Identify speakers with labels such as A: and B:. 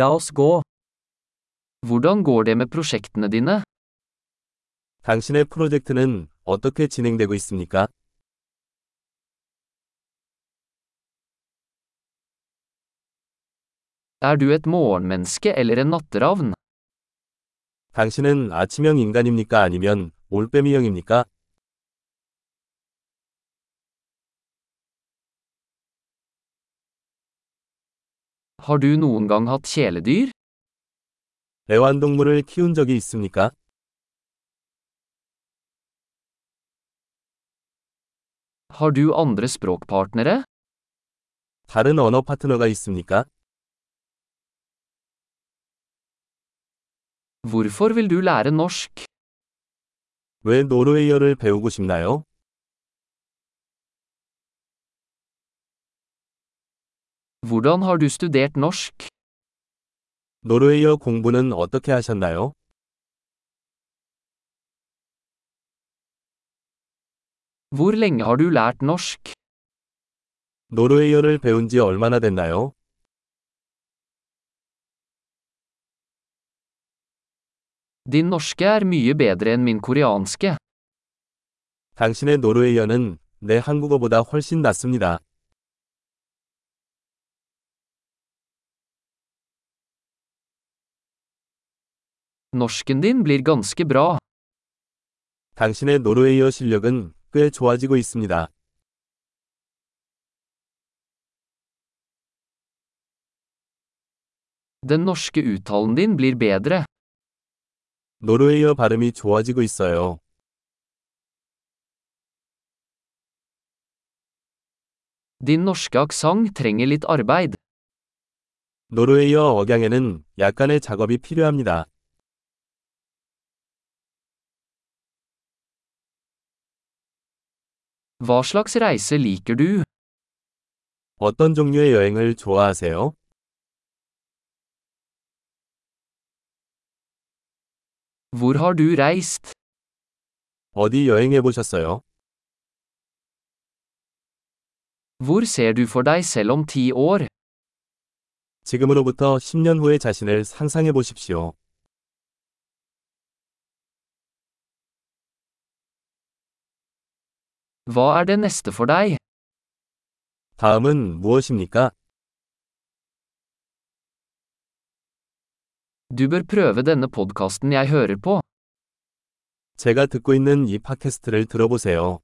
A: La oss gå. Hvordan går det med prosjektene dine?
B: 당신의 프로젝트는 어떻게 진행되고 있습니까?
A: Er du et morgenmenneske eller en natteravn?
B: 당신은 아침형 인간입니까? 아니면 올빼미형입니까?
A: Har du noen gang hatt kjæledyr?
B: 애완동물을 키운 적이 있습니까?
A: Har du andre språkpartnere?
B: 다른 언어 파트너가 있습니까?
A: Hvorfor vil du lære norsk?
B: 왜 노르웨이어를 배우고 싶나요?
A: Hvordan har du studert norsk?
B: 노르웨이어 공부는 어떻게 하셨나요?
A: Hvor lenge har du lært norsk?
B: 노르웨이어를 배운 지 얼마나 됐나요?
A: Din norske er mye bedre enn min koreanske.
B: 당신의 노르웨이어는 내 한국어보다 훨씬 낫습니다.
A: Norsken din blir ganske bra.
B: 당신의 노르웨이어 실력은 꽤 좋아지고 있습니다.
A: Den norske uttalen din blir bedre.
B: 노르웨이어 발음이 좋아지고 있어요.
A: Din norske aksang trenger litt arbeid.
B: 노르웨이어 억양에는 약간의 작업이 필요합니다.
A: Hva slags reise liker du?
B: 어떤 종류의 여행을 좋아하세요?
A: Hvor har du reist?
B: 어디 여행해 보셨어요?
A: Hvor ser du for deg selv om ti år?
B: 지금으로부터 10년 후의 자신을 상상해 보십시오.
A: Hva er det neste for deg?
B: 다음은 무엇입니까?
A: Du bør prøve denne podkasten jeg hører på.
B: 제가 듣고 있는 이 팟캐스트를 들어보세요.